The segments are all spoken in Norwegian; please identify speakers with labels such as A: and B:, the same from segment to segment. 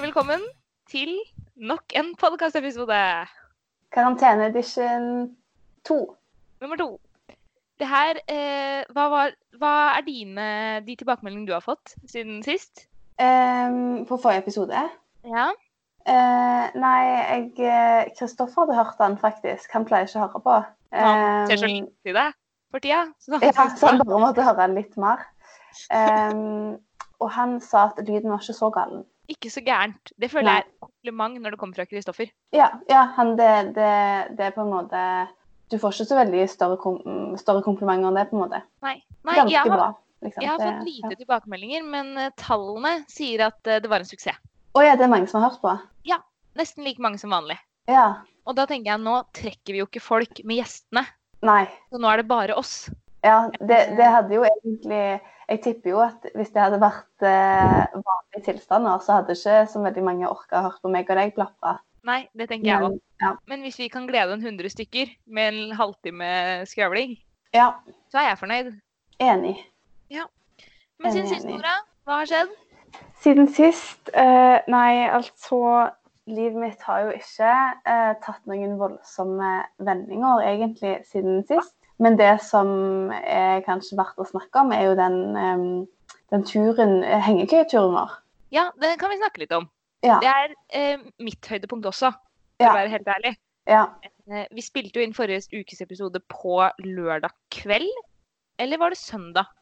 A: velkommen til nok en podkastepisode.
B: Karantenedition 2.
A: Nummer to. Det her eh, hva, var, hva er dine, de tilbakemeldingene du har fått siden sist?
B: Ehm, på forrige episode.
A: Ja.
B: Eh, nei, jeg eh, Kristoffer hadde hørt den faktisk. Han pleier ikke å høre på.
A: Han ser så
B: Ehm,
A: lite i det for tida. Så
B: ja, så han bare måtte høre den litt mer. Ehm, og han sa at lyden var ikke så galen.
A: ikke så gærent. Det føler jeg er et kompliment når det kommer fra Kristoffer.
B: Ja, ja han, det, det, det er på en måte Du får ikke så veldig større, kom, større komplimenter enn det, på en måte.
A: Nei. Nei
B: Ganske
A: jeg, har,
B: bra. Liksom.
A: jeg har
B: Det-
A: fått lite tilbakemeldinger, men eh, tallene sier at eh, det var en suksess.
B: Å ja, det er mange som har hørt på?
A: Nesten like mange som vanlig.
B: Ja.
A: Og da tenker jeg nå trekker vi jo ikke folk med gjestene,
B: Nei.
A: så nå er det bare oss.
B: Ja, det, det hadde jo egentlig Jeg tipper jo at hvis det hadde vært eh, vanlige tilstander, så hadde ikke så veldig mange orka hørt på meg og deg plapre.
A: Nei, det tenker jeg òg.
B: Men,
A: Men hvis vi kan glede en 100 stykker med en halvtime skravling,
B: ja,
A: så er jeg fornøyd.
B: enig.
A: Men siden
B: Enig,
A: sist,
B: enig.
A: Nora, hva har skjedd?
B: Siden sist eh, Nei, altså Livet mitt har jo ikke eh, tatt noen voldsomme vendinger, egentlig, siden sist. Men det som er kanskje verdt å snakke om, er jo den, eh, den turen, eh, hengekøyeturen vår.
A: Ja, det kan vi snakke litt om.
B: Ja.
A: Det er eh, mitt høydepunkt også, for
B: Ja.
A: å være helt ærlig.
B: Ja.
A: Eh, vi spilte jo inn forrige ukes episode på lørdag kveld. Eller var det søndag?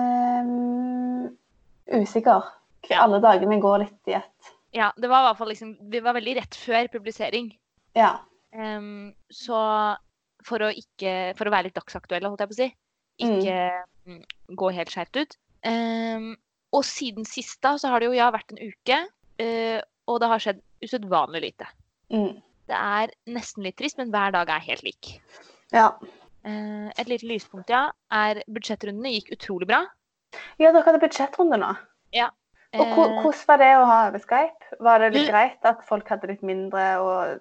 B: Ehm, usikker. Alle dagene går litt i ett.
A: Ja, det var i hvert fall liksom Vi var veldig rett før publisering.
B: Ja.
A: Em, så for å ikke For å være litt dagsaktuelle, holdt jeg på å si. Ikke mm, gå helt skjevt ut. Em, og siden sist da, så har det jo ja vært en uke. eh, og det har skjedd usedvanlig lite.
B: Mm.
A: Det er nesten litt trist, men hver dag er helt lik.
B: ja.
A: Eh, et lite lyspunkt, ja, er budsjettrundene gikk utrolig bra.
B: Ja, dere hadde budsjettrunde nå. Og
A: Eh, Mm.
B: ko- hvordan var det å ha over Skype? Var det litt
A: Du-
B: greit at folk hadde litt mindre, og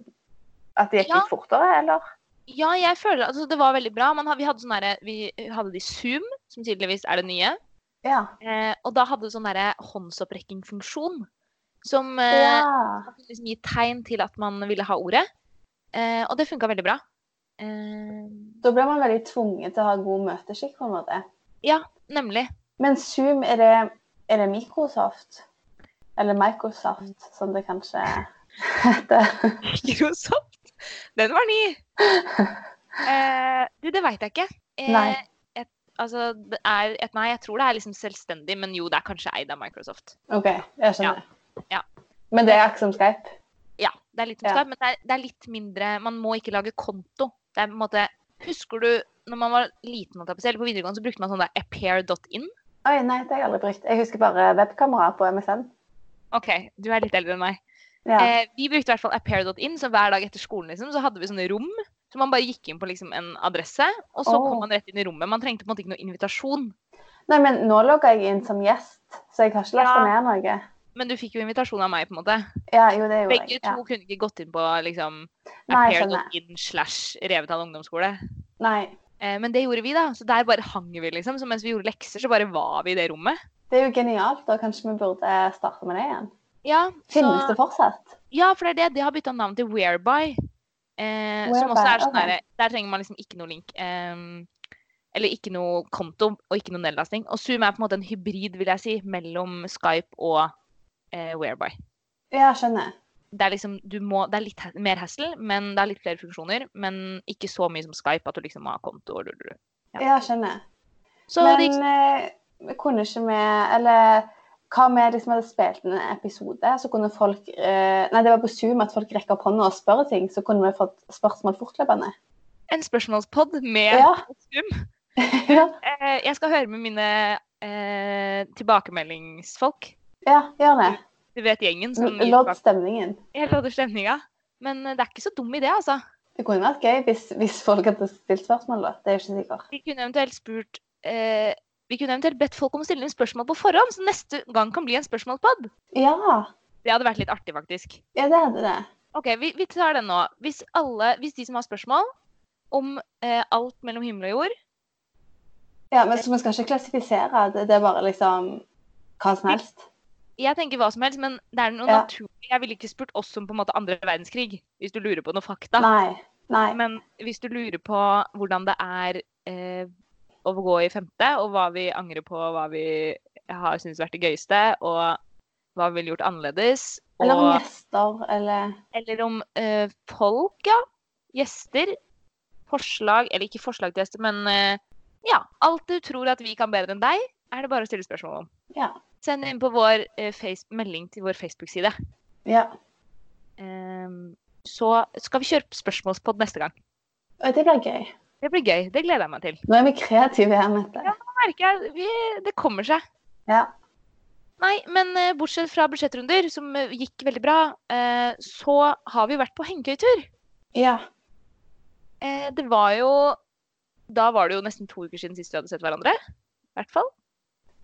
B: at det gikk
A: Ja.
B: litt fortere, eller?
A: ja, jeg føler altså, det var veldig bra. Man, ha- vi hadde sånn derre- vi hadde de Zoom, som tydeligvis er det nye.
B: Ja.
A: Eh, og da hadde det sånn derre håndsopprekking-funksjon. Som eh,
B: Ja.
A: man kunne liksom gi tegn til at man ville ha ordet. Eh, og det funka veldig bra. Eh,
B: Da ble man veldig tvunget til å ha god møteskikk, på en måte.
A: nemlig.
B: Men Zoom, er det, er det Microsoft? Eller Microsoft, som det kanskje heter.
A: Microsoft. Den var ny. Eh, du, det veit jeg ikke. Eh,
B: Nei.
A: Et, altså, det er et nei. Jeg tror det er liksom selvstendig, men jo, det er kanskje eid av Microsoft.
B: OK, jeg skjønner.
A: Ja.
B: Men det er akkurat som Skype?
A: Ja, det er litt som
B: Ja.
A: Skype, men det er, det er litt mindre Man må ikke lage konto. Det er på en måte Husker du når man var liten holdt jeg på å si, eller på videregående, så brukte man sånn der appear.in?
B: Oi, nei, det har jeg aldri brukt. Jeg husker bare webkamera på MSN.
A: OK, du er litt eldre enn meg.
B: Ja.
A: Eh, vi brukte i hvert fall appear.in, så hver dag etter skolen liksom, så hadde vi sånne rom. Så man bare gikk inn på liksom, en adresse, og så
B: Åh.
A: kom man rett inn i rommet. Man trengte på en måte ikke noe invitasjon.
B: Nei, men nå logga jeg inn som gjest, så jeg har ikke lasta
A: Ja.
B: ned noe.
A: Men du fikk jo invitasjon av meg, på en måte.
B: Ja, jo, det gjorde
A: Begge
B: jeg. Ja.
A: to kunne ikke gått inn på liksom,
B: Nei, skjønner.
A: appear.in slash Revetal ungdomsskole.
B: Nei,
A: Eh, men det gjorde vi, da. Så der bare hang vi, liksom. Så mens vi gjorde lekser, så bare var vi i det rommet.
B: det er jo genialt, og kanskje vi burde starte med det igjen.
A: Ja, så,
B: Finnes det fortsatt?
A: ja for det er det. Det har bytta navn til Whereby. Eh, som
B: Whereby,
A: også er sånn
B: ok.
A: der, der trenger man liksom ikke noe link. ehm, eller ikke noe konto og ikke noe nedlasting. Og Zoom er på en måte en hybrid vil jeg si, mellom Skype og eh, Whereby.
B: Ja, skjønner.
A: Det er liksom, du må, det er litt he- mer hassle, men det er litt flere funksjoner. Men ikke så mye som Skype, at du liksom må ha konto. og lululu. Ja.
B: Ja, skjønner.
A: Så det gikk
B: Men eh, vi kunne ikke vi Eller hva om vi liksom hadde spilt inn en episode, så kunne folk eh, Nei, det var på Zoom at folk rekker opp hånda og spør ting, så kunne vi fått spørsmål fortløpende.
A: en spørsmålspod med
B: Ja.
A: Zoom.
B: ja.
A: Eh, jeg skal høre med mine eh, tilbakemeldingsfolk.
B: ja, gjør det.
A: Du vet gjengen som gir
B: Lodd
A: tilbake-
B: stemningen.
A: Jeg lodder stemninga. Men eh, det er ikke så dum idé, altså.
B: Det kunne vært gøy hvis, hvis folk hadde stilt spørsmål, da. Det er jeg ikke sikker.
A: Vi kunne eventuelt spurt eh, Vi kunne eventuelt bedt folk om å stille inn spørsmål på forhånd, så neste gang kan bli en spørsmålspod.
B: Ja,
A: Det hadde vært litt artig, faktisk.
B: ja det hadde det.
A: OK, vi, vi tar den nå. Hvis, alle, hvis de som har spørsmål om eh, alt mellom himmel og jord
B: Ja, men så vi skal ikke klassifisere det. Det er bare liksom hva som helst.
A: Jeg tenker hva som helst, men det er noe
B: Ja.
A: naturlig. Jeg ville ikke spurt oss om på en måte andre verdenskrig, hvis du lurer på noe fakta.
B: Nei. Nei.
A: Men hvis du lurer på hvordan det er eh, å gå i femte, og hva vi angrer på, hva vi har syntes vært det gøyeste, og hva vi ville gjort annerledes, og,
B: Eller om gjester, eller
A: eller om eh, folk, ja. Gjester. Forslag, eller ikke forslag til gjester, men eh, ja. Alt du tror at vi kan bedre enn deg, er det bare å stille spørsmål om.
B: Ja.
A: Send inn på vår eh, face melding til vår Facebook-side.
B: Ja.
A: Ehm, så skal vi kjøre spørsmålspod neste gang.
B: Og det blir gøy.
A: Det blir gøy. Det gleder jeg meg til.
B: Nå er vi kreative her, Mette.
A: Ja. Nå merker jeg vi, det kommer seg.
B: Ja.
A: Nei, men eh, bortsett fra budsjettrunder, som eh, gikk veldig bra, eh, så har vi vært på hengekøytur.
B: Ja.
A: Eh, det var jo Da var det jo nesten to uker siden sist vi hadde sett hverandre. I hvert fall.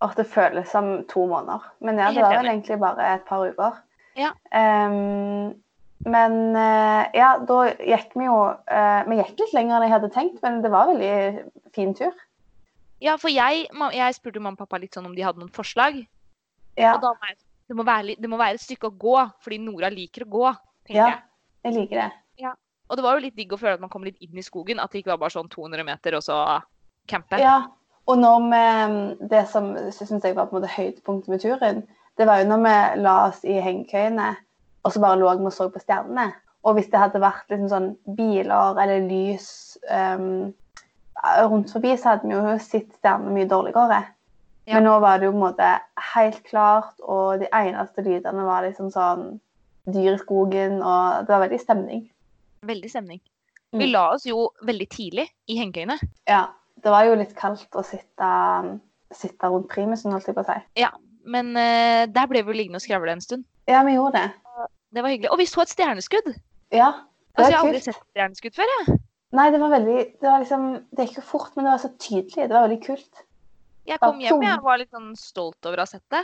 B: Og det føles som to måneder. Men ja,
A: Jeg er
B: det var
A: helt
B: vel egentlig bare et par uker.
A: Ja.
B: Ehm, men eh, ja, da gikk vi jo eh, Vi gikk litt lenger enn jeg hadde tenkt, men det var en veldig fin tur.
A: Ja, for jeg, ma- jeg spurte mamma og pappa litt sånn om de hadde noen forslag.
B: Ja.
A: Og da var jeg sånn, det må, være, litt- det må være et stykke å gå, fordi Nora liker å gå. tenker
B: ja.
A: jeg.
B: Jeg liker det.
A: Og det var jo litt digg å føle at man kom litt inn i skogen. At det ikke var bare sånn 200 meter og så campe.
B: Ja. Og når vi eh, Det som syns jeg var på en måte høydepunktet med turen, det var jo når vi la oss i hengekøyene og så bare lå vi og så på stjernene. Og hvis det hadde vært liksom sånn biler eller lys ehm, rundt forbi, så hadde vi jo sett stjernene mye dårligere.
A: Ja.
B: Men nå var det jo på en måte helt klart, og de eneste lydene var liksom sånn dyr i skogen, og det var veldig stemning.
A: Veldig stemning.
B: Mm.
A: Vi la oss jo veldig tidlig i hengekøyene.
B: Ja, det var jo litt kaldt å sitte, sitte rundt primusen, holdt jeg på å si.
A: Men eh, der ble vi jo liggende og skravle en stund.
B: Ja, vi gjorde det.
A: Det var hyggelig. Og vi så et stjerneskudd!
B: Ja, det
A: Altså,
B: var
A: jeg har aldri
B: kult.
A: sett et stjerneskudd før. Jeg.
B: Nei, det var veldig Det var liksom Det gikk jo fort, men det var så tydelig. Det var veldig kult.
A: jeg
B: Ja,
A: kom hjem
B: sånn.
A: jeg var litt sånn stolt over å ha sett det.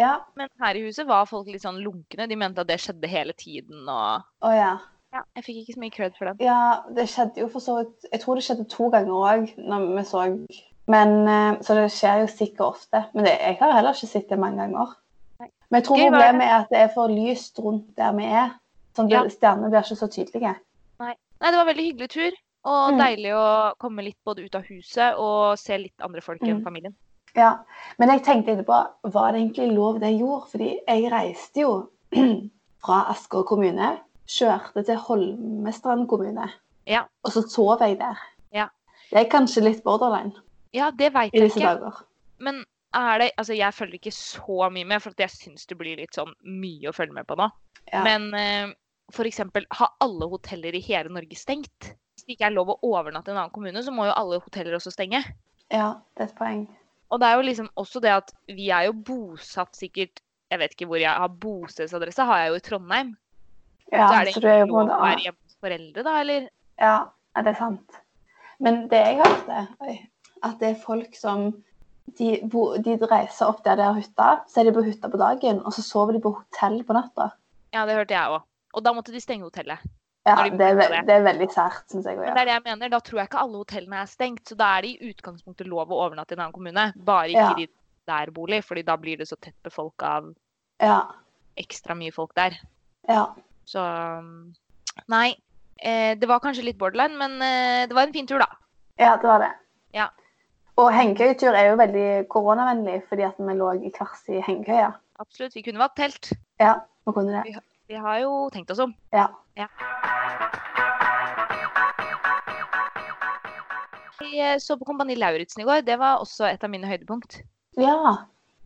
B: Ja.
A: Men her i huset var folk litt sånn lunkne. De mente at det skjedde hele tiden. Og
B: Å ja.
A: ja, jeg fikk ikke så mye cred for den.
B: Ja, det skjedde jo for så vidt Jeg tror det skjedde to ganger òg, når vi så Men eh, Så det skjer jo sikkert ofte. Men det, jeg har heller ikke sett det mange ganger.
A: Nei.
B: Men jeg tror
A: Gøy var det.
B: problemet er at det er for lyst rundt der vi er. Sånn at
A: Ja.
B: Stjernene blir ikke så tydelige.
A: Nei, det var veldig hyggelig tur. Og
B: Mm.
A: deilig å komme litt både ut av huset og se litt andre folk enn
B: Mm.
A: familien.
B: Ja. Men jeg tenkte etterpå Var det egentlig lov det jeg gjorde? Fordi jeg reiste jo fra Asker kommune, kjørte til Holmestrand kommune,
A: Ja.
B: og så sov jeg der.
A: Ja.
B: Det er kanskje litt borderline
A: Ja, det veit
B: i
A: jeg
B: disse
A: ikke.
B: dager.
A: Men er det Altså, jeg følger ikke så mye med, for at jeg syns det blir litt sånn mye å følge med på nå.
B: Ja.
A: Men eh, for eksempel, har alle hoteller i hele Norge stengt? Hvis det ikke er lov å overnatte i en annen kommune, så må jo alle hoteller også stenge.
B: Ja, det er et poeng.
A: Og det er jo liksom også det at vi er jo bosatt sikkert Jeg vet ikke hvor jeg har bostedsadresse, har jeg jo i Trondheim.
B: Ja,
A: så er det
B: så du er jo
A: ikke
B: på en
A: lov å
B: måte
A: være hjemme hos foreldre, da, eller?
B: Ja, ja, det er sant. Men det jeg hørte, oi, at det er folk som de, bo, de reiser opp der de har hytta, så er de på hytta på dagen, og så sover de på hotell på natta.
A: Ja, det hørte jeg òg. Og da måtte de stenge hotellet.
B: Ja,
A: Når de
B: det er,
A: bruker
B: ve
A: det.
B: det er veldig sært, syns jeg.
A: Men
B: å
A: det
B: gjøre.
A: er det jeg mener, da tror jeg ikke alle hotellene er stengt. Så da er det i utgangspunktet lov å overnatte i en annen kommune. Bare ikke
B: Ja.
A: i de der bolig, fordi da blir det så tett befolka av
B: Ja,
A: ekstra mye folk der.
B: ja.
A: Så um, Nei. Eh, det var kanskje litt borderline, men eh, det var en fin tur, da.
B: Ja, det var det.
A: Ja.
B: Og hengekøyetur er jo veldig koronavennlig, fordi at vi lå i kvers i hengekøya.
A: Absolutt. Vi kunne valgt telt.
B: Ja, vi kunne det.
A: Vi har jo tenkt oss om.
B: Ja.
A: Vi eh, så på Kompani Lauritzen i går. Det var også et av mine høydepunkt.
B: ja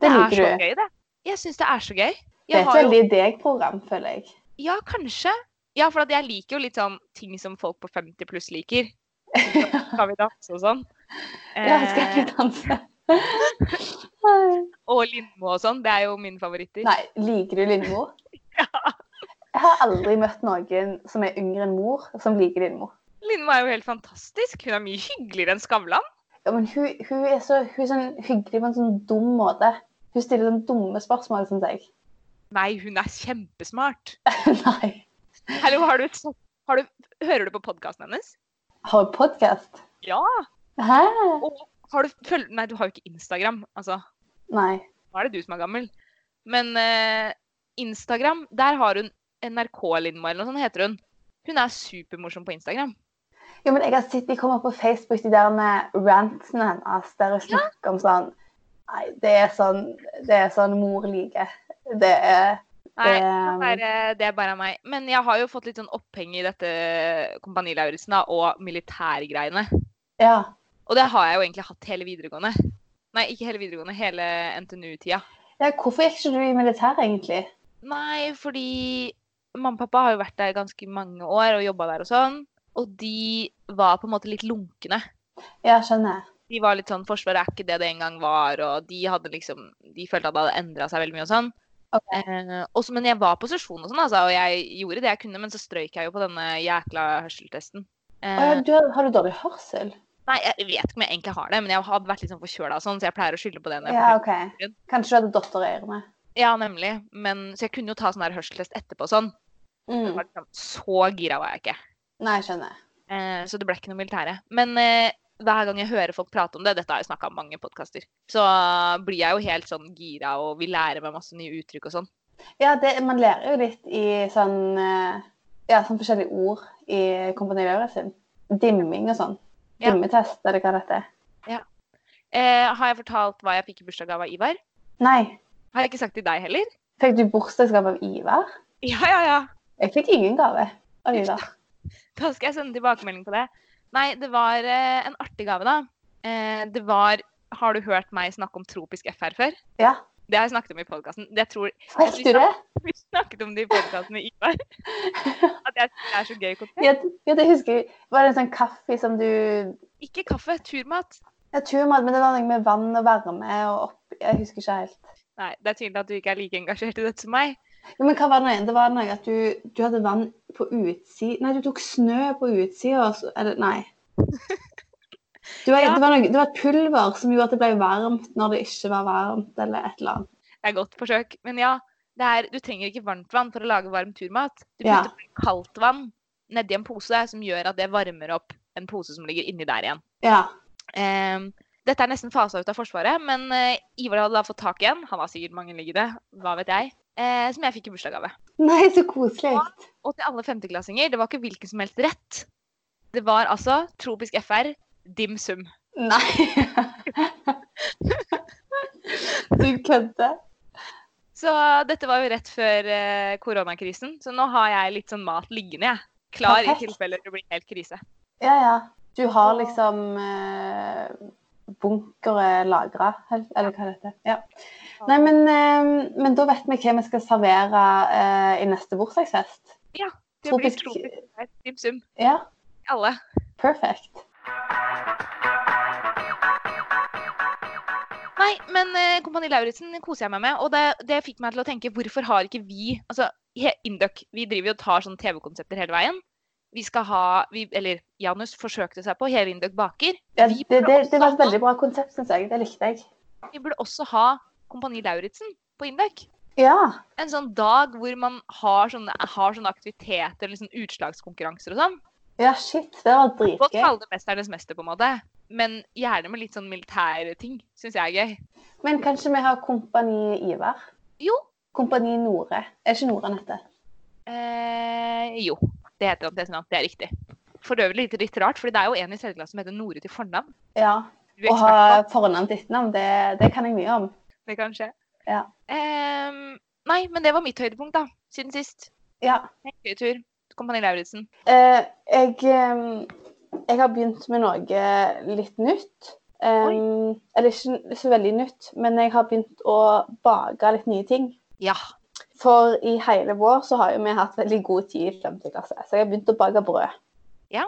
B: det
A: er
B: liker
A: så
B: du.
A: gøy, det. Jeg syns det er så gøy.
B: Det er
A: Jeg
B: et
A: har jo
B: veldig deg-program, føler jeg.
A: Ja, kanskje. Ja, for at jeg liker jo litt sånn ting som folk på 50 pluss liker. Skal vi danse og sånn.
B: ja, skal vi
A: Eh,
B: danse?
A: og Lindmo og sånn. Det er jo mine favoritter.
B: Nei, liker du Lindmo? Jeg har aldri møtt noen som er yngre enn mor, som liker Lindmo.
A: Lindmo er jo helt fantastisk. Hun er mye hyggeligere enn Skavlan.
B: Ja, men hun, hun, er så, hun er sånn hyggelig på en sånn dum måte. Hun stiller sånn dumme spørsmål, syns jeg.
A: Nei, hun er kjempesmart.
B: Nei.
A: Hallo, har du, har du, hører du på podkasten hennes?
B: Har hun podkast?
A: Ja.
B: Hæ?
A: Og har du følg... Nei, du har jo ikke Instagram. Altså,
B: Nei.
A: nå er det du som er gammel. Men eh, Instagram, der har hun NRK-Lindmo eller noe sånt heter hun. Hun er supermorsom på Instagram.
B: Jo, men jeg har sett de kommer på Facebook, de der med rantene hennes, der hun snakker om sånn Nei, det er sånn, det er sånn mor liker. Det er
A: Nei,
B: Um,
A: det er, eh, det er bare meg. Men jeg har jo fått litt sånn oppheng i dette Kompani Lauritzen da, og militærgreiene.
B: Ja.
A: Og det har jeg jo egentlig hatt hele videregående. Nei, ikke hele videregående, hele NTNU-tida.
B: ja hvorfor gikk ikke du i militæret, egentlig?
A: Nei, fordi mamma og pappa har jo vært der ganske mange år og jobba der og sånn. Og de var på en måte litt lunkne.
B: Ja, skjønner.
A: De var litt sånn Forsvaret er ikke det det en gang var, og de hadde liksom De følte at det hadde endra seg veldig mye og sånn.
B: Ok.
A: Eh, også, men jeg var på sesjon og sånn, altså, og jeg gjorde det jeg kunne, men så strøyk jeg jo på denne jækla hørselstesten. Eh,
B: Å, ja, du, har- har du dårlig hørsel?
A: Nei, jeg vet ikke om jeg egentlig har det, men jeg har vært litt sånn forkjøla og sånn, så jeg pleier å skylde på det. når jeg
B: Ja,
A: forteller.
B: OK. Kanskje du hadde dotter i ørene.
A: ja, nemlig. Men, så jeg kunne jo ta sånn der hørselstest etterpå og sånn. Det
B: Mm.
A: var liksom, så gira var jeg ikke.
B: Nei, skjønner.
A: Eh, så det ble ikke noe militære. Men eh, hver gang jeg hører folk prate om det, dette har jeg snakka om mange podkaster, så blir jeg jo helt sånn gira og vil lære meg masse nye uttrykk og sånn.
B: Ja, det, man lærer jo litt i sånn eh, Ja, sånn forskjellige ord i Kompani Lauritzen. Dimming og sånn.
A: Ja.
B: Dimmetest, eller hva dette er.
A: Eh, har jeg fortalt hva jeg fikk i bursdagsgave av Ivar?
B: Nei.
A: Har jeg ikke sagt til deg heller?
B: Fikk du bursdagsgave av Ivar?
A: Ja, ja, ja.
B: Jeg fikk ingen gave av Ivar.
A: Da skal jeg sende tilbakemelding på det. Nei, det var eh, en artig gave, da. Eh, det var Har du hørt meg snakke om tropisk FR før?
B: Ja.
A: Det har jeg snakket om i podkasten. Jeg tror
B: Fikk du det?
A: vi snakket om det i podkasten med Ivar. At jeg synes det er så gøy konsept.
B: Ja, det- ja, det husker jeg. Var det en sånn kaffe som du
A: Ikke kaffe, turmat.
B: Jeg tror man, men det var noe med vann og varme og opp Jeg husker ikke helt.
A: Nei, det er tydelig at du ikke er like engasjert i dette som meg.
B: Jo, men hva var det nå igjen? Det var noe at du, du hadde vann på utsiden Nei, du tok snø på utsida, og så Eller, nei. Du var,
A: Ja.
B: det, var noe, det var et pulver som gjorde at det ble varmt når det ikke var varmt, eller et eller annet.
A: Det er godt forsøk. Men ja, det er, du trenger ikke varmt vann for å lage varm turmat. Du
B: Ja.
A: putter bare kaldt vann nedi en pose som gjør at det varmer opp en pose som ligger inni der igjen.
B: Ja.
A: Ehm, dette er nesten fasa ut av Forsvaret, men eh, Ivar hadde da fått tak i en. Han har sikkert mange liggende, hva vet jeg. eh, som jeg fikk i bursdagsgave.
B: Nei, så koselig.
A: Og til alle femteklassinger, det var ikke hvilken som helst rett. Det var altså tropisk FR, dim sum.
B: Nei. du kødder.
A: Så dette var jo rett før eh, koronakrisen, så nå har jeg litt sånn mat liggende, jeg. Klar i
B: Perfekt.
A: tilfelle det blir helt krise.
B: Ja, ja. Du har liksom eh, bunkere lagra, eller hva det heter. Ja. Nei, men, eh, men da vet vi hva vi skal servere eh, i neste bursdagsfest.
A: Det blir
B: Tropisk-
A: tropisk FR, dim sum.
B: Ja,
A: Alle.
B: perfekt.
A: Nei, men eh, Kompani Lauritzen koser jeg meg med. Og det, det fikk meg til å tenke hvorfor har ikke vi altså he, Induc, vi driver jo og tar sånne TV-konsepter hele veien. Vi skal ha vi, Eller Janus forsøkte seg på Hele Induc baker.
B: Ja,
A: Vi
B: det, det, det var
A: også
B: et veldig bra konsept, syns jeg. Det likte jeg.
A: Vi burde også ha Kompani Lauritzen på Induc.
B: Ja.
A: En sånn dag hvor man har sånne, har sånne aktiviteter, liksom utslagskonkurranser og sånn.
B: ja, shit. Det var
A: Godt
B: dritgøy.
A: kalle det Mesternes mester, på en måte. Men gjerne med litt sånn militære ting. Syns jeg er gøy.
B: Men kanskje vi har Kompani Ivar?
A: Jo.
B: Kompani Nore. Er ikke Nore han heter?
A: Eh, jo, det heter han til etternavn. Det er riktig. For øvrig litt, litt rart, for det er jo en i tredje klasse som heter Nore til fornavn.
B: Ja.
A: Du er
B: Å ha
A: ekspert på
B: fornavn til etternavn, det, det kan jeg mye om.
A: at det kan skje.
B: Ja.
A: Ehm, nei, men det var mitt høydepunkt, da. Siden sist.
B: Ja.
A: En Gøy tur. Kompani Lauritzen.
B: Eh, jeg, eh, jeg har begynt med noe litt nytt. Eh, eller ikke så veldig nytt, men jeg har begynt å bake litt nye ting.
A: Ja.
B: For i hele vår så har jo vi hatt veldig god tid i 5. klasse, så jeg har begynt å bake brød.
A: Ja.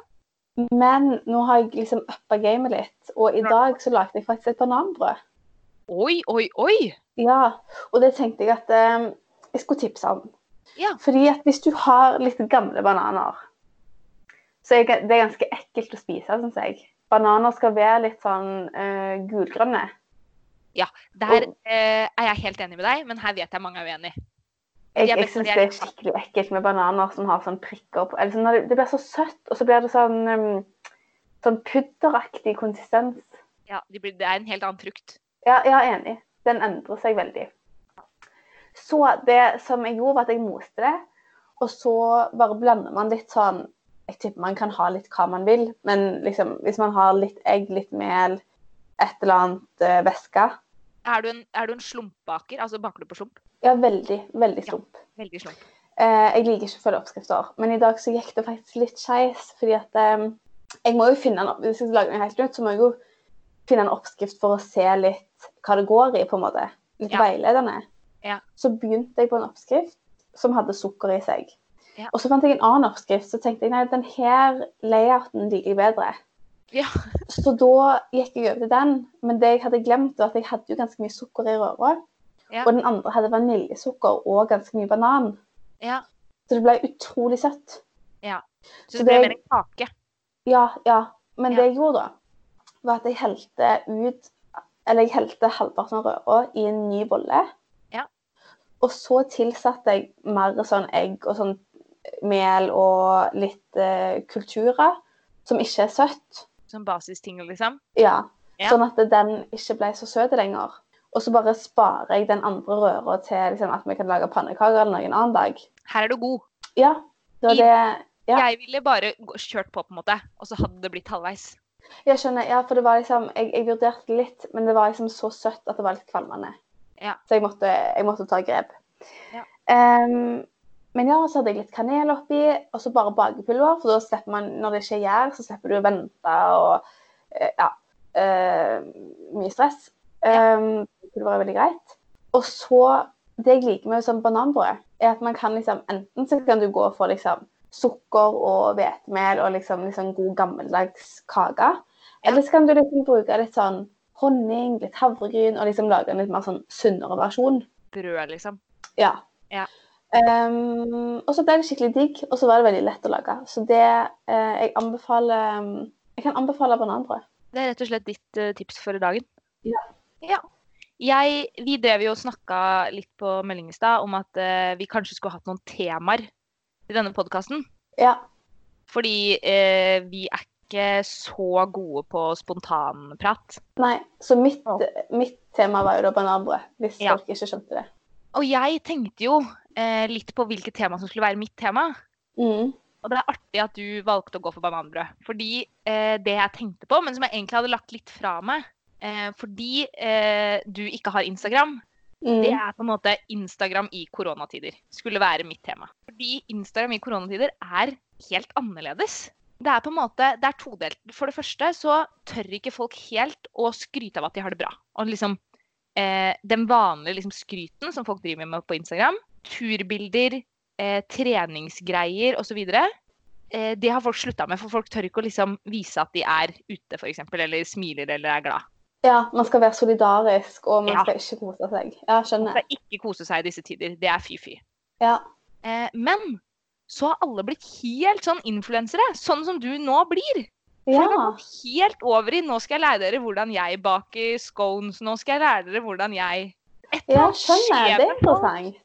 B: Men nå har jeg liksom uppa gamet litt, og i
A: Ja.
B: dag så lagde jeg faktisk et bananbrød.
A: Oi, oi, oi!
B: Ja, og det tenkte jeg at eh, jeg skulle tipse om.
A: Ja.
B: Fordi at hvis du har litt gamle bananer, så er det det er ganske ekkelt å spise, syns jeg. Bananer skal være litt sånn eh, gulgrønne.
A: Der
B: Og-
A: eh, er jeg helt enig med deg, men her vet jeg mange er uenig.
B: Jeg,
A: Ja, men
B: jeg syns
A: fordi
B: det
A: jeg-
B: er skikkelig ekkelt med bananer som har sånn prikker på eller sånn, når det, det blir så søtt, og så blir det sånn, um, sånn pudderaktig konsistens.
A: Ja, de blir, det er en helt annen frukt.
B: Ja, jeg er enig. Den endrer seg veldig. Så det som jeg gjorde, var at jeg moste det. Og så bare blander man litt sånn Jeg tipper man kan ha litt hva man vil, men liksom, hvis man har litt egg, litt mel, et eller annet eh, væske
A: Er du en, er du en slumpbaker? Altså baker du på slump?
B: Ja, veldig, veldig
A: Ja.
B: slump.
A: Veldig slump.
B: Eh, jeg liker ikke å følge oppskrifter, men i dag så gikk det faktisk litt skeis. Fordi at eh, jeg må jo finne en opp Hvis jeg skal lage noe helt nytt, så må jeg jo finne en oppskrift for å se litt hva det går i, på en måte. Litt
A: Ja.
B: veiledende.
A: Ja.
B: Så begynte jeg på en oppskrift som hadde sukker i seg.
A: Ja.
B: Og så fant jeg en annen oppskrift, så tenkte jeg nei, den her layouten liker jeg bedre.
A: Ja.
B: Så da gikk jeg over til den, men det jeg hadde glemt, var at jeg hadde jo ganske mye sukker i røra.
A: Ja.
B: Og den andre hadde vaniljesukker og ganske mye banan.
A: Ja.
B: Så det ble utrolig søtt.
A: Så
B: Så
A: det ble
B: det-
A: mer en kake.
B: Ja, ja. Men
A: Ja.
B: det jeg gjorde da, var at jeg helte ut Eller jeg helte halvparten av røra i en ny bolle.
A: Ja.
B: Og så tilsatte jeg mer sånn egg og sånn mel og litt eh, kulturer som ikke er søtt.
A: Som basisting, liksom.
B: Ja.
A: Ja.
B: Sånn at den ikke ble så søt lenger. Og så bare sparer jeg den andre røra til liksom, at vi kan lage pannekaker eller noen annen dag.
A: Her er du god.
B: Ja, det var det Ja.
A: Jeg ville bare gå- kjørt på, på en måte, og så hadde det blitt halvveis.
B: Jeg skjønner, ja, for det var liksom, jeg, jeg vurderte litt, men det var liksom så søtt at det var litt kvalmende.
A: Ja.
B: Så jeg måtte, jeg måtte ta grep.
A: Ja.
B: Ehm, men ja, så hadde jeg litt kanel oppi, og så bare bakepulver, for da slipper man, når det ikke er gjær, så slipper du å vente og eh, ja, eh, mye stress. Ehm, pulver er veldig greit. Og så, det jeg liker med sånn bananbrød, er at man kan liksom, enten så kan du gå for liksom sukker og hvetemel og liksom, liksom god gammeldags kake,
A: Ja.
B: eller så kan du liksom bruke litt sånn honning, litt havregryn, og liksom lage en litt mer sånn sunnere versjon.
A: Brød, liksom.
B: Ja.
A: Ja.
B: Ehm, og så ble det skikkelig digg, og så var det veldig lett å lage. Så det eh, jeg anbefaler Jeg kan anbefale bananbrød.
A: Det er rett og slett ditt eh, tips for dagen.
B: Ja.
A: Ja. Jeg, vi drev jo og snakka litt på melding i stad om at eh, vi kanskje skulle hatt noen temaer i denne podkasten.
B: Ja.
A: Fordi eh, vi er ikke så gode på spontanprat.
B: Nei, så mitt,
A: Ja.
B: mitt tema var jo da bananbrød, hvis
A: Ja.
B: folk ikke skjønte det.
A: Og jeg tenkte jo eh, litt på hvilket tema som skulle være mitt tema.
B: Mm.
A: Og det er artig at du valgte å gå for bananbrød. Fordi eh, det jeg tenkte på, men som jeg egentlig hadde lagt litt fra meg eh, Fordi eh, du ikke har Instagram,
B: Mm.
A: Det er på en måte Instagram i koronatider. Skulle være mitt tema. Fordi Instagram i koronatider er helt annerledes. Det er på en måte, det er todelt. For det første så tør ikke folk helt å skryte av at de har det bra. Og liksom eh, den vanlige liksom, skryten som folk driver med på Instagram, turbilder, eh, treningsgreier osv., eh, det har folk slutta med. For folk tør ikke å liksom vise at de er ute, f.eks., eller smiler eller er glad.
B: Ja, man skal være solidarisk, og man
A: Ja.
B: skal ikke kose seg. Ja, skjønner.
A: Det er ikke kose seg i disse tider. Det er fy-fy.
B: Ja.
A: Eh, men så har alle blitt helt sånn influensere, sånn som du nå blir.
B: ja.
A: Folk har gått helt over i 'nå skal jeg lære dere hvordan jeg baker scones', 'nå skal jeg lære dere hvordan jeg Et eller
B: Ja,
A: annet
B: skjønner.
A: skjer
B: Det altså. er
A: med folk.
B: interessant.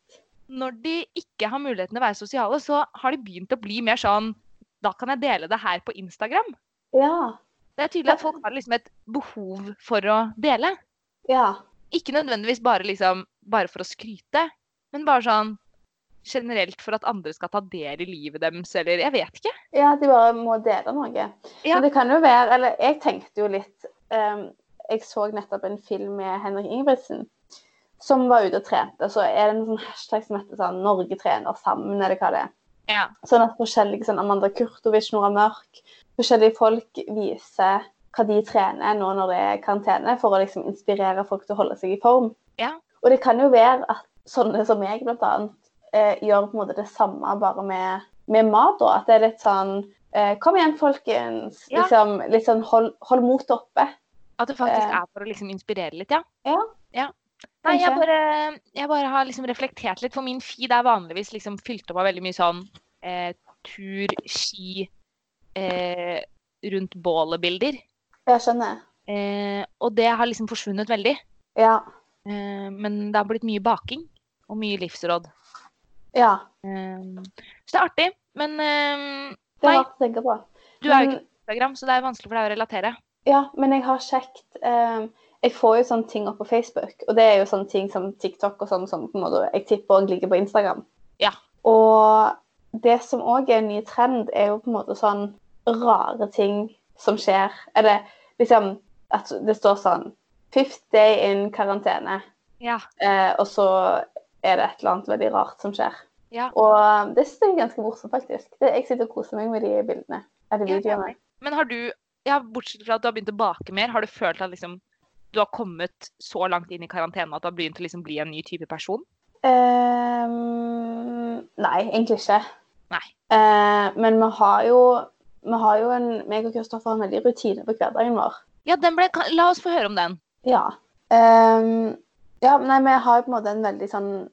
A: Når de ikke har muligheten til å være sosiale, så har de begynt å bli mer sånn 'da kan jeg dele det her på Instagram'.
B: Ja.
A: Det er tydelig at folk har liksom et behov for å dele.
B: Ja.
A: Ikke nødvendigvis bare, liksom, bare for å skryte, men bare sånn generelt for at andre skal ta del i livet deres, eller jeg vet ikke.
B: Ja, de bare må dele noe.
A: Ja.
B: Men det kan jo være Eller jeg tenkte jo litt ehm, Jeg så nettopp en film med Henrik Ingebrigtsen som var ute og trente. Så er det en sånn hashtag som heter sånn 'Norge trener sammen', eller hva det er.
A: Ja.
B: Sånn at forskjellige sånn Amanda Kurtovic, Nora Mørk Forskjellige folk viser hva de trener nå når det er karantene, for å liksom inspirere folk til å holde seg i form.
A: Ja.
B: Og det kan jo være at sånne som meg, blant annet, eh, gjør på en måte det samme bare med, med mat. Da. At det er litt sånn eh, Kom igjen, folkens.
A: Ja.
B: Liksom, litt sånn hold, hold motet oppe.
A: At det faktisk
B: Eh.
A: er for å liksom inspirere litt, ja.
B: Ja.
A: Nei, jeg
B: Kanskje.
A: bare, jeg bare har liksom reflektert litt, for min feed er vanligvis liksom fylt opp av veldig mye sånn eh, tur, ski, eh, rundt bålet-bilder.
B: Jeg skjønner.
A: Eh, og det har liksom forsvunnet veldig.
B: Ja.
A: Eh, men det har blitt mye baking og mye livsråd.
B: ja.
A: Eh, så det er artig. Men eh,
B: Det
A: Nei.
B: er rart å tenke på.
A: du er jo
B: Men-
A: ikke på Instagram, så det er vanskelig for deg å relatere.
B: Ja, men jeg har sjekt eh, jeg får jo sånne ting opp på Facebook, og det er jo sånne ting som TikTok og sånn som på en måte jeg tipper òg ligger på Instagram.
A: Ja.
B: Og det som òg er en ny trend, er jo på en måte sånn rare ting som skjer. Eller liksom at det står sånn Fifth day in karantene.
A: Ja.
B: Eh, og så er det et eller annet veldig rart som skjer.
A: Ja.
B: Og det synes jeg er ganske morsomt, faktisk. Det, jeg sitter og koser meg med de bildene. Eller
A: Ja,
B: videoene.
A: enig. Men har du, ja, bortsett fra at du har begynt å bake mer, har du følt at liksom, du har kommet så langt inn i karantene at du har begynt å liksom, bli en ny type person?
B: Ehm, nei, egentlig ikke.
A: Nei.
B: Eh, men vi har jo, vi har jo en, meg og Kristoffer har en veldig rutine på hverdagen vår.
A: Ja, den ble, kan- la oss få høre om den.
B: Ja. Ehm, ja, nei, vi har jo på en måte en veldig sånn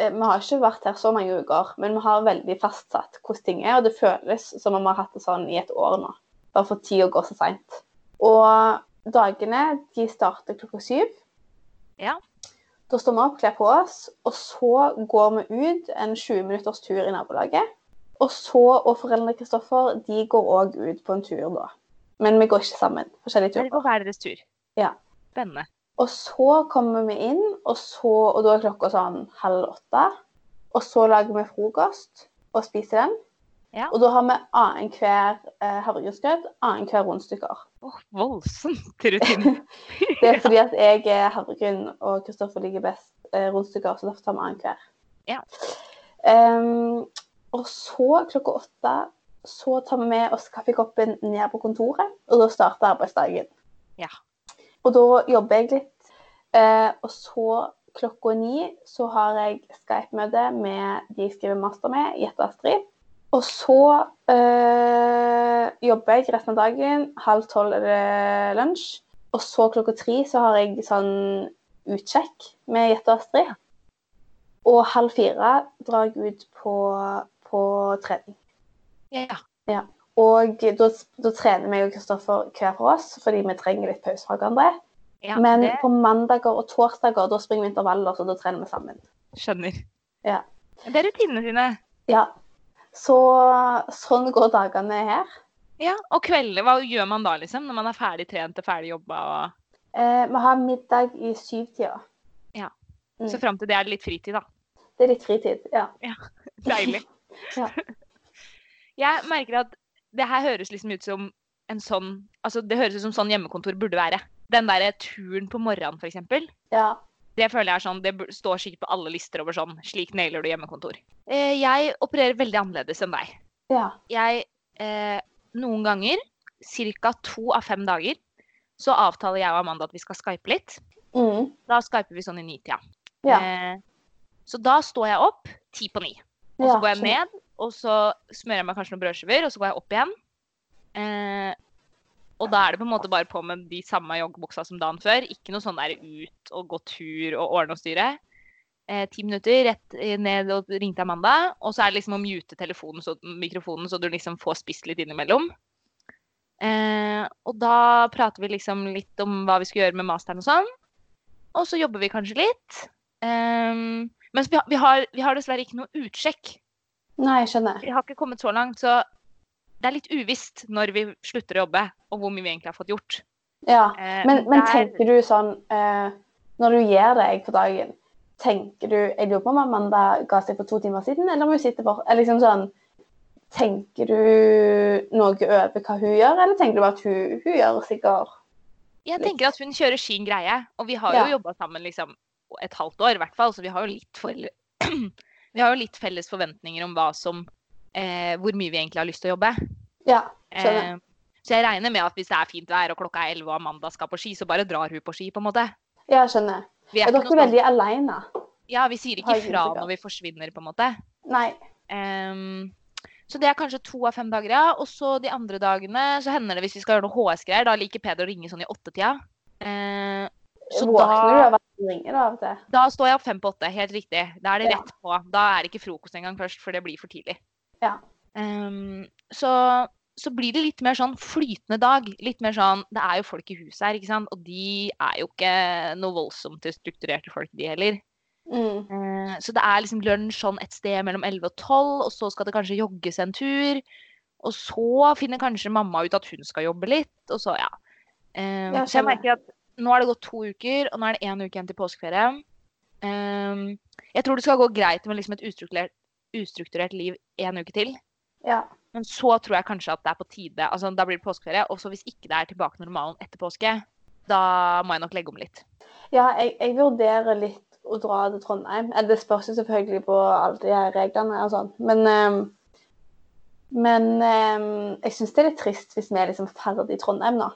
B: eh, Vi har ikke vært her så mange uker, men vi har veldig fastsatt hvordan ting er, og det føles som om vi har hatt det sånn i et år nå. Bare for tida går så seint. Og dagene de starter klokka syv.
A: Ja.
B: Da står vi opp, kler på oss, og så går vi ut en 20 minutters tur i nabolaget. Og så og foreldrene Kristoffer de går òg ut på en tur da. Men vi går ikke sammen. Forskjellige
A: Dere
B: turer.
A: går hver deres tur.
B: Ja.
A: Spennende.
B: Og så kommer vi inn, og, så, og da er klokka sånn halv åtte. Og så lager vi frokost og spiser den.
A: Ja.
B: Og da har vi annenhver eh, havregrynsgrøt, annenhver rundstykker.
A: Åh, voldsomt rutine.
B: Det er fordi at jeg er havregryn, og Kristoffer liker best eh, rundstykker, så derfor tar vi annenhver.
A: Ja.
B: Ehm, og så klokka åtte så tar vi med oss kaffekoppen ned på kontoret, og da starter arbeidsdagen.
A: Ja.
B: Og da jobber jeg litt. Eh, og så klokka ni så har jeg Skype-møte med de jeg skriver master med, Jette Astrid. Og så eh, jobber jeg resten av dagen. Halv tolv er det lunsj. Og så klokka tre så har jeg sånn utsjekk med Jette og Astrid. Og halv fire drar jeg ut på, på trening.
A: Ja.
B: Og da, da trener vi og Kristoffer hver for oss, fordi vi trenger litt pause fra hverandre.
A: ja
B: Men
A: det
B: på mandager og torsdager da springer vi intervaller, så da trener vi sammen.
A: skjønner.
B: Ja.
A: Det er rutinene dine.
B: Ja. Så sånn går dagene her.
A: Ja, og kvelder, hva gjør man da liksom? Når man er ferdig trent og ferdig jobba og
B: Eh, vi har middag i syvtida. Mm.
A: Så fram til det er det litt fritid, da.
B: Det er litt fritid. Ja.
A: Deilig.
B: Ja.
A: Jeg merker at det her høres liksom ut som en sånn Altså, det høres ut som sånn hjemmekontor burde være. Den derre turen på morgenen, for eksempel.
B: ja.
A: Det føler jeg er sånn, det bur- står sikkert på alle lister over sånn Slik nailer du hjemmekontor. Eh, Jeg opererer veldig annerledes enn deg.
B: Ja.
A: Jeg eh, Noen ganger, ca. to av fem dager, så avtaler jeg og Amanda at vi skal skype litt.
B: Mm.
A: Da skyper vi sånn i nitida.
B: Ja.
A: Eh, så da står jeg opp ti på ni. Og så
B: Ja, sånn.
A: går jeg
B: skjønner.
A: ned, og så smører jeg meg kanskje noen brødskiver, og så går jeg opp igjen. Eh, og da er det på en måte bare på med de samme joggebuksa som dagen før. Ikke noe sånn der ut og gå tur og ordne og styre. Eh, ti minutter, rett ned og ring til Amanda. Og så er det liksom å mute telefonen så, mikrofonen, så du liksom får spist litt innimellom. Eh, og da prater vi liksom litt om hva vi skal gjøre med masteren og sånn. Og så jobber vi kanskje litt. Um, mens vi, har- vi, har, vi har dessverre ikke noe utsjekk.
B: Nei, jeg skjønner.
A: Vi har ikke kommet så langt, så det er litt uvisst når vi slutter å jobbe, og hvor mye vi egentlig har fått gjort.
B: Ja.
A: Eh,
B: Men, men
A: der-
B: tenker du sånn eh, Når du gjør deg på dagen, tenker du Jeg lurer på om Amanda ga seg for to timer siden, eller om hun sitter for eller liksom sånn, Tenker du noe over hva hun gjør, eller tenker du bare at hun, hun gjør sikkert
A: Jeg
B: litt.
A: tenker at hun kjører sin greie, og vi har
B: Ja.
A: jo jobba sammen liksom et halvt år i hvert fall, så vi har jo litt for... Vi har jo litt felles forventninger om hva som eh, Hvor mye vi egentlig har lyst til å jobbe.
B: Ja.
A: Eh,
B: Skjønner.
A: så jeg regner med at hvis det er fint vær og klokka er 11 og Amanda skal på ski, så bare drar hun på ski, på en måte.
B: Ja, skjønner.
A: Vi
B: Er
A: noe
B: dere
A: sånn-
B: veldig aleine?
A: Ja, vi sier
B: Har
A: ikke
B: jeg
A: fra
B: inntrykk av.
A: når vi forsvinner, på en måte.
B: Nei.
A: Ehm, så det er kanskje to av fem dager, ja. Og så de andre dagene så hender det hvis vi skal gjøre noe HS-greier, da liker Peder å ringe sånn i åttetida. Ehm, så
B: Våkner du
A: da,
B: av at hun ringer da av og til?
A: da står jeg opp fem på åtte, helt riktig. Da er det
B: Ja.
A: rett på. Da er det ikke frokost engang først, for det blir for tidlig.
B: Ja.
A: Ehm, så, så blir det litt mer sånn flytende dag. Litt mer sånn Det er jo folk i huset her, ikke sant. Og de er jo ikke noe voldsomt strukturerte folk, de heller.
B: Mm.
A: Eh, Så det er liksom lunsj sånn et sted mellom 11 og 12, og så skal det kanskje jogges en tur. Og så finner kanskje mamma ut at hun skal jobbe litt, og så, ja. Eh,
B: Ja,
A: Så jeg
B: skjønner.
A: merker at nå har det gått to uker, og nå er det én uke igjen til påskeferie. Ehm, jeg tror det skal gå greit med liksom et ustrukturert, ustrukturert liv én uke til.
B: Ja.
A: Men så tror jeg kanskje at det er på tide. altså Da blir det påskeferie. Og så hvis ikke det er tilbake til normalen etter påske, da må jeg nok legge om litt.
B: Ja, jeg, jeg vurderer litt å dra til Trondheim. Eh, Det spørs jo selvfølgelig på alle de her reglene og sånn. Men, ehm, men ehm, jeg syns det er litt trist hvis vi er liksom ferdig i Trondheim nå.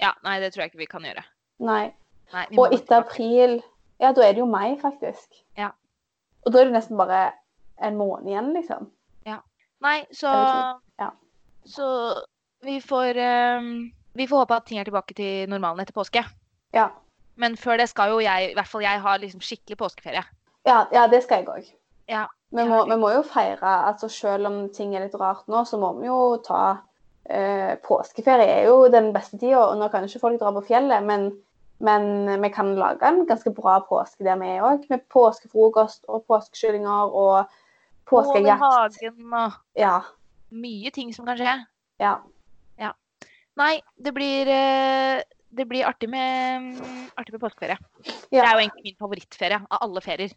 A: Ja, nei, det tror jeg ikke vi kan gjøre.
B: Nei.
A: Nei, vi må
B: Og
A: nok
B: etter
A: tilbake.
B: april Ja, da er det jo mai, faktisk.
A: Ja.
B: Og da er det nesten bare en måned igjen, liksom.
A: Nei, så
B: Eller ja.
A: Så vi får ehm, Vi får håpe at ting er tilbake til normalen etter påske.
B: Ja.
A: Men før det skal jo jeg, i hvert fall jeg, ha liksom skikkelig påskeferie.
B: Ja, ja det skal jeg òg.
A: Ja.
B: Vi, må- vi må jo feire. altså Selv om ting er litt rart nå, så må vi jo ta eh, Påskeferie er jo den beste tida, og nå kan jo ikke folk dra på fjellet, men, men vi kan lage en ganske bra påske der vi er òg. Med påskefrokost og påskekyllinger og
A: Mål i
B: påskejakt.
A: hagen og
B: Ja.
A: mye ting som kan skje.
B: Ja.
A: Ja. Nei, det blir eh, det blir artig med, mm, artig med påskeferie. Det
B: Ja.
A: er jo egentlig min favorittferie av alle ferier.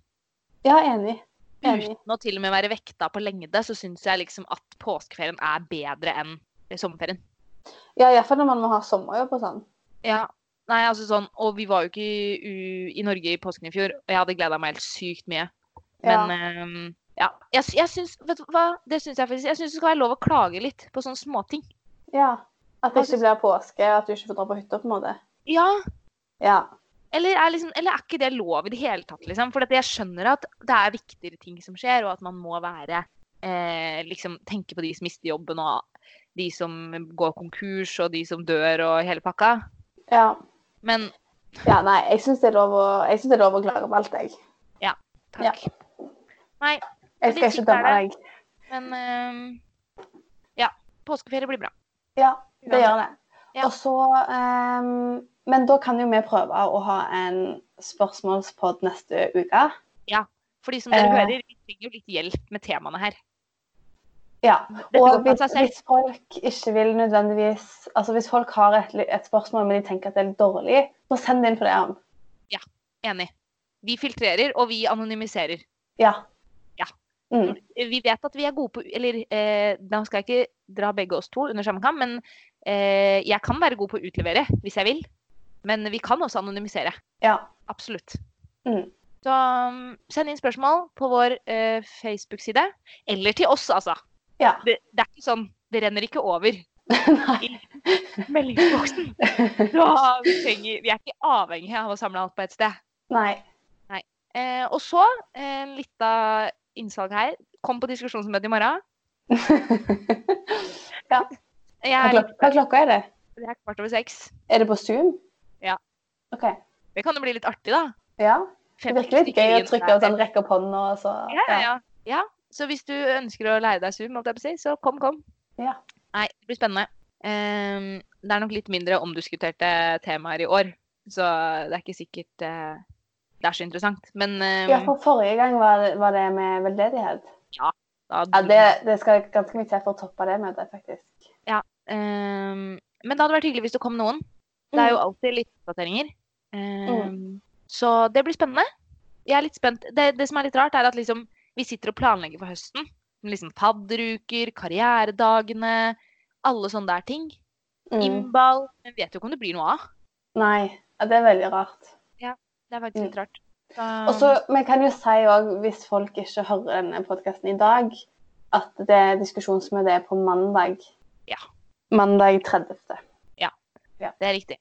B: ja, enig. Enig.
A: Uten å til og med være vekta på lengde, så syns jeg liksom at påskeferien er bedre enn sommerferien.
B: Ja, Iallfall når man må ha sommerjobb og sånn.
A: Ja. Nei, altså sånn, og vi var jo ikke i, u- i Norge i påsken i fjor, og jeg hadde gleda meg helt sykt mye.
B: Ja.
A: Men ehm, ja. Jeg, sy- jeg syns Vet du hva, det syns jeg faktisk. Jeg syns det skal være lov å klage litt på sånne småting.
B: Ja. At det ikke blir påske, at du ikke får dra på hytta, på en måte.
A: Ja.
B: Ja.
A: Eller er, liksom, eller er ikke det lov i det hele tatt, liksom? For at jeg skjønner at det er viktigere ting som skjer, og at man må være eh, Liksom tenke på de som mister jobben, og de som går konkurs, og de som dør, og hele pakka.
B: ja.
A: Men
B: Ja, nei, jeg syns det er lov å, jeg synes det er lov å klage på alt, jeg. Ja.
A: takk. Nei,
B: Jeg skal
A: Litt
B: ikke
A: sykt er
B: dømme
A: det.
B: deg.
A: men ehm, Ja. Påskeferie blir bra.
B: Ja, det gjør det.
A: Ja.
B: Og så ehm, Men da kan jo vi prøve å ha en spørsmålspod neste uke.
A: For de som dere
B: Eh.
A: hører, vi trenger jo litt hjelp med temaene her.
B: Ja.
A: Dette går ikke
B: Og
A: av
B: hvis,
A: seg selv.
B: hvis folk ikke vil nødvendigvis Altså hvis folk har et, li- et spørsmål, men de tenker at det er litt dårlig, så send det inn for det. Ann.
A: Enig. Vi filtrerer, og vi anonymiserer.
B: Ja.
A: Ja.
B: Mm.
A: Vi vet at vi er gode på Eller eh, da skal jeg ikke dra begge oss to under samme kam, men eh, jeg kan være god på å utlevere hvis jeg vil. Men vi kan også anonymisere.
B: ja.
A: Absolutt.
B: Mm.
A: Så um, send inn spørsmål på vår eh, Facebook-side. Eller til oss, altså.
B: Ja.
A: Det, det er ikke sånn Det renner ikke over
B: Nei.
A: i meldingsboksen. Så um, vi, trenger, vi er ikke avhengig av å samle alt på ett sted.
B: Nei.
A: Eh, og så, en litt av innsalg her. Kom på diskusjonsmøte i morgen.
B: ja.
A: Jeg
B: Hva,
A: er,
B: klok
A: litt-
B: hva klokka er det?
A: det er kvart over seks.
B: Er det på Zoom?
A: Ja.
B: OK.
A: Det kan jo bli litt artig, da.
B: Ja. Det
A: Fem
B: virker litt
A: stykker
B: gøy å
A: inn
B: trykke
A: der.
B: og sånn rekke opp hånda og så
A: Ja, ja, ja. ja. Så hvis du ønsker å lære deg Zoom, holdt jeg på å si, så kom, kom.
B: Ja.
A: Nei, det blir spennende. Ehm, det er nok litt mindre omdiskuterte temaer i år, så det er ikke sikkert eh, det er så interessant. Men ehm,
B: Ja, for forrige gang var det, var det med veldedighet.
A: da
B: Ja, det, det skal ganske mye til for å toppe det møtet, faktisk.
A: Ehm, men det hadde vært hyggelig hvis det kom noen. Det er jo
B: Mm.
A: alltid litt oppdateringer. Ehm, Så det blir spennende. Jeg er litt spent. Det, det som er litt rart, er at liksom, vi sitter og planlegger for høsten. Liksom Fadderuker, karrieredagene, alle sånne der ting.
B: Mm.
A: Imbal. Men vet jo ikke om det blir noe av.
B: Nei, ja, det er veldig rart.
A: Det er faktisk litt rart. Så,
B: Mm. Og så, Vi kan jo si òg, hvis folk ikke hører denne podkasten i dag, at det diskusjonsmøtet er på mandag.
A: Ja.
B: Mandag 30.
A: det er riktig.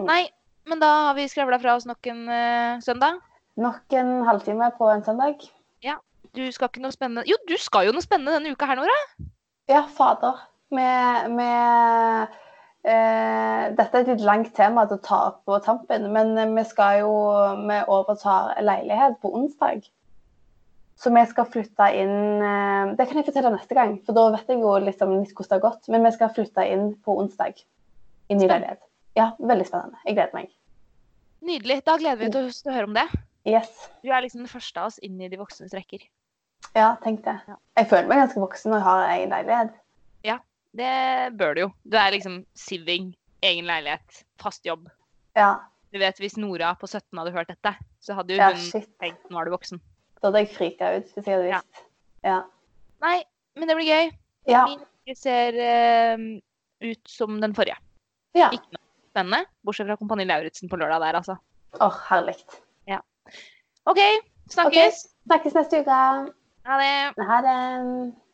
B: Mm.
A: Nei, men da har vi skravla fra oss nok en eh, søndag.
B: Nok en halvtime på en søndag.
A: Du skal ikke noe spennende Jo, du skal jo noe spennende denne uka her, Nora.
B: Ja, fader. Med, med eh, Dette er et litt langt tema til å ta opp på tampen, men eh, vi skal jo Vi overtar leilighet på onsdag. Så vi skal flytte inn eh, Det kan jeg fortelle neste gang, for da vet jeg jo liksom litt hvordan det har gått. Men vi skal flytte inn på onsdag. I ny
A: Spennende.
B: leilighet. Ja, veldig spennende. Jeg gleder meg.
A: Nydelig. Da gleder vi oss til å høre om det.
B: Yes.
A: Du er liksom den første av oss inn i de voksnes rekker.
B: Ja, tenk det.
A: Ja.
B: Jeg føler meg ganske voksen når jeg har egen leilighet.
A: Det bør du jo. Du er liksom siving, egen leilighet, fast jobb.
B: Ja.
A: Du vet, Hvis Nora på 17 hadde hørt dette, så hadde jo
B: Ja,
A: hun
B: shit.
A: tenkt nå er du voksen.
B: Da hadde jeg frika ut hvis jeg hadde
A: Ja.
B: visst. Ja.
A: Nei, men det blir gøy.
B: Ja.
A: Min uke ser eh, ut som den forrige.
B: ja.
A: Ikke Spennende. Bortsett fra Kompani Lauritzen på lørdag der, altså.
B: Åh, herlig.
A: OK, snakkes.
B: Snakkes neste uke.
A: Ha det.
B: Ha det.